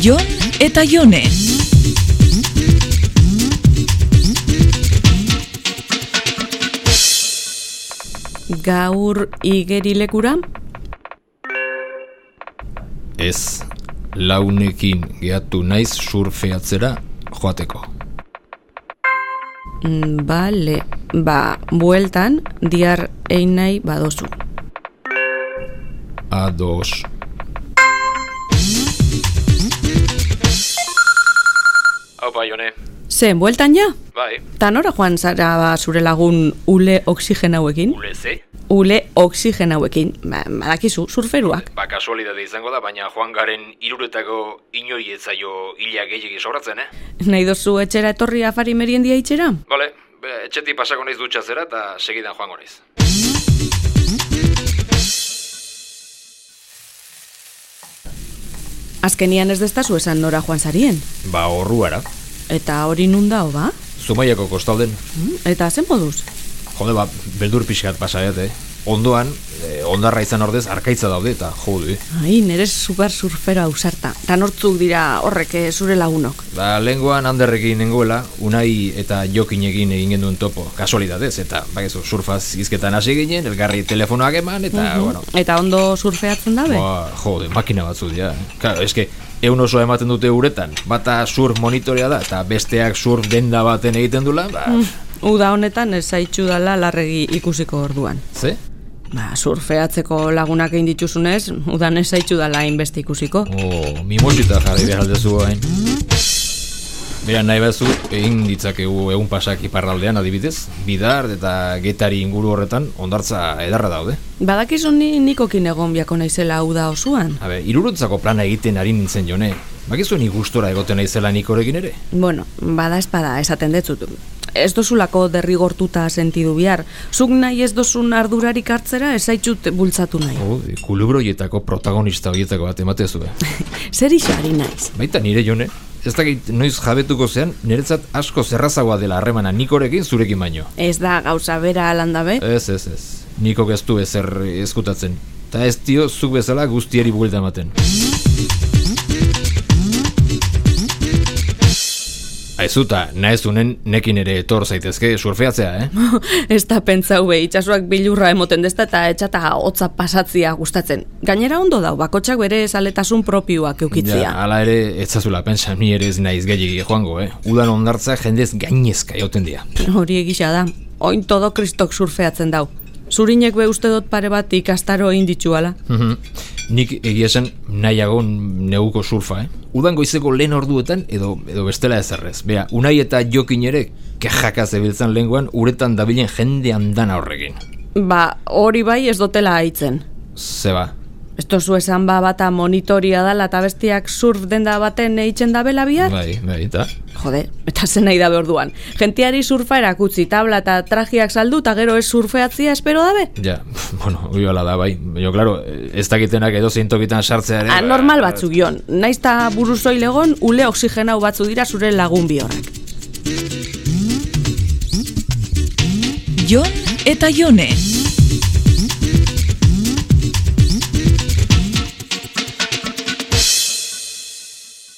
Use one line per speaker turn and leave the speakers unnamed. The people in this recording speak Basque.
Jon eta Jone.
Gaur igerilekura?
Ez, launekin gehatu naiz surfeatzera joateko.
Mm, Bale, ba, bueltan diar egin nahi badozu.
Ados. Hau bai, jone.
Ze, bueltan ja?
Bai.
Ta nora joan zara ba, zure lagun ule oxigen hauekin?
Ule ze?
Ule oxigen hauekin, ba, badakizu, surferuak.
Ba, kasualidade izango da, baina joan garen iruretako inoi etzaio ila gehiagi sobratzen, eh?
Nahi dozu etxera etorri afari meriendia itxera?
Bale, be, etxetik pasako naiz dutxazera eta segidan joango naiz.
Azkenian ez destazu esan nora joan zarien.
Ba, horruara.
Eta hori nun dao, ba?
Zumaiako kostalden.
Mm, Eta zen moduz?
Jode, ba, beldur pixkat pasaiat, eh? Ondoan, eh, ondarra izan ordez, arkaitza daude eta jode.
Ai, nere super surfera ausarta. Ta nortzuk dira horrek eh, zure lagunok.
Ba, lengoan handerrekin nengoela, unai eta jokinekin egin genuen topo, kasualidadez, eta, bakizu, surfaz izketan hasi ginen, elgarri telefonoak eman, eta, bueno,
Eta ondo surfeatzen dabe?
ba, jode, makina batzu dira. eh. Claro, eske, eun osoa ematen dute uretan, bata surf monitorea da, eta besteak surf denda baten egiten dula, ba,
Uda honetan ez zaitxu dala larregi ikusiko orduan.
ze?
Ba, surfeatzeko lagunak egin dituzunez, udan ez zaitxu dala hainbeste ikusiko.
Oh, mimosita jarri behar aldezu hain. Bera nahi batzu, egin ditzakegu egun pasak iparraldean adibidez, bidar eta getari inguru horretan ondartza edarra daude.
Badakizu ni nikokin egon biako naizela uda osuan?
Habe, irurutzako plana egiten ari nintzen jone, bakizu ni gustora egoten naizela nik horrekin ere?
Bueno, bada espada esaten detzut. Ez dozulako derrigortuta sentidu bihar. Zuk nahi ez dozun ardurarik hartzera ez zaitxut bultzatu nahi.
Oh, kulubroietako protagonista horietako bat ematezu, eh?
Zer isari naiz?
Baita nire jone, ez dakit noiz jabetuko zean, niretzat asko zerrazagoa dela harremana nik horrekin zurekin baino.
Ez da gauza bera alandabe?
Ez, ez, ez. Nikok ez du ezer ezkutatzen. Ta ez dio zuk bezala guztiari buelta ematen. Aizuta, nahezunen nekin ere etor zaitezke surfeatzea, eh?
ez da pentsau be, itxasuak bilurra emoten dezta eta etxata hotza pasatzia gustatzen. Gainera ondo dau, bakotxak bere saletasun propioak eukitzia.
hala ere, ez zazula pensa, ni ere ez naiz gehiagi joango, eh? Udan ondartza jendez gainezka jauten dira.
Hori egisa da, oin todo kristok surfeatzen dau. Zurinek be uste dut pare bat ikastaro egin dituala.
Mhm. Nik egia esan nahiago neguko surfa, eh? Udan goizeko lehen orduetan edo edo bestela ezerrez. Bea, unai eta jokin ere kejaka zebiltzan lenguan uretan dabilen jende andana horrekin.
Ba, hori bai ez dotela haitzen.
Zeba,
Esto zu esan ba bata monitoria dala eta bestiak surf denda baten eitzen da bela bihar?
bai, bai, eta?
Jode, eta zen nahi dabe orduan. Gentiari surfa erakutzi tabla eta trajiak saldu eta gero ez surfeatzia espero dabe?
Ja, bueno, uiola da, bai. Jo, claro, ez dakitenak edo zintokitan sartzea ere...
Anormal batzu gion. Naiz ta buruzoi legon ule oxigenau batzu dira zure lagun bihorrak.
Jon eta Jone.